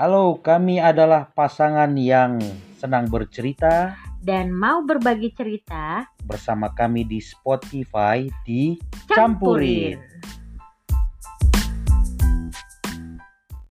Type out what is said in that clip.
Halo, kami adalah pasangan yang senang bercerita dan mau berbagi cerita, bersama kami di Spotify di campurin. Campurin.